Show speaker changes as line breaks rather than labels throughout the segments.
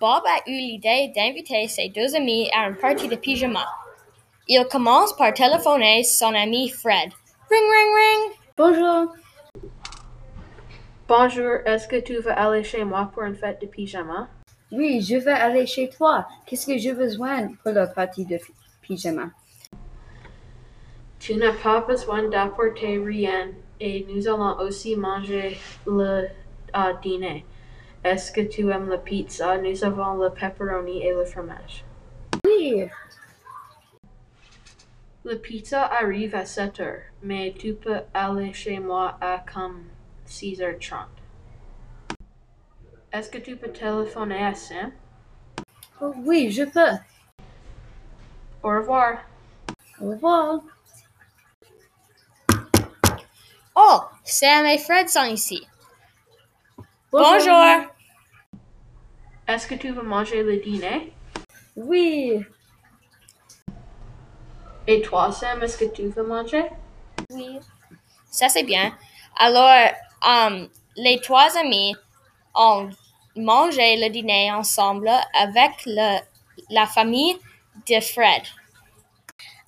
Bob a eu l'idée d'inviter ses deux amis à une partie de pyjama. Il commence par téléphoner son ami Fred. Ring ring ring.
Bonjour. Bonjour, est-ce que tu veux aller chez moi pour une fête de pyjama?
Oui, je veux aller chez toi. Qu'est-ce que j'ai besoin pour la partie de py- pyjama?
Tu n'as pas besoin d'apporter rien et nous allons aussi manger le euh, dîner. Est-ce que tu aimes la pizza? Nous avons le pepperoni et le fromage.
Oui.
La pizza arrive à 7 heures, mais tu peux aller chez moi à comme 6h30. Est-ce que tu peux téléphoner à Sam?
Oh, oui, je peux.
Au revoir.
Au revoir.
Oh, Sam et Fred sont ici. Bonjour.
Est-ce que tu veux manger le dîner?
Oui.
Et toi, Sam, est-ce que tu veux manger?
Oui. Ça, c'est bien. Alors, euh, les trois amis ont mangé le dîner ensemble avec le- la famille de Fred.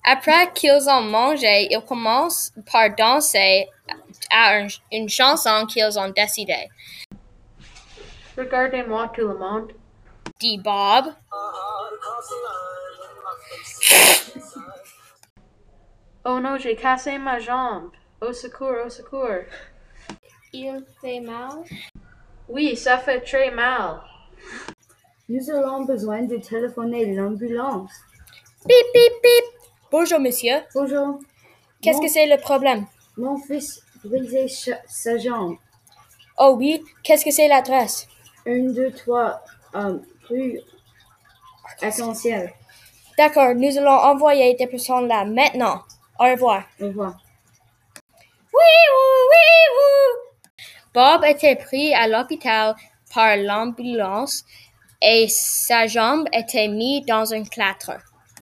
Après qu'ils ont mangé, ils commencent par danser à un- une chanson qu'ils ont décidée,
Regardez-moi tout le monde.
dit Bob.
Oh non, j'ai cassé ma jambe. Au secours, au secours.
Il fait mal.
Oui, ça fait très mal.
Nous aurons besoin de téléphoner l'ambulance.
Pip, pip, pip. Bonjour, monsieur.
Bonjour.
Qu'est-ce
Mon-
que c'est le problème?
Mon fils brisait cha- sa jambe.
Oh oui, qu'est-ce que c'est l'adresse?
Un, deux, trois, euh, plus essentiel.
D'accord, nous allons envoyer des personnes là maintenant. Au revoir.
Au revoir.
Oui, oui, Bob était pris à l'hôpital par l'ambulance et sa jambe était mise dans un clatre.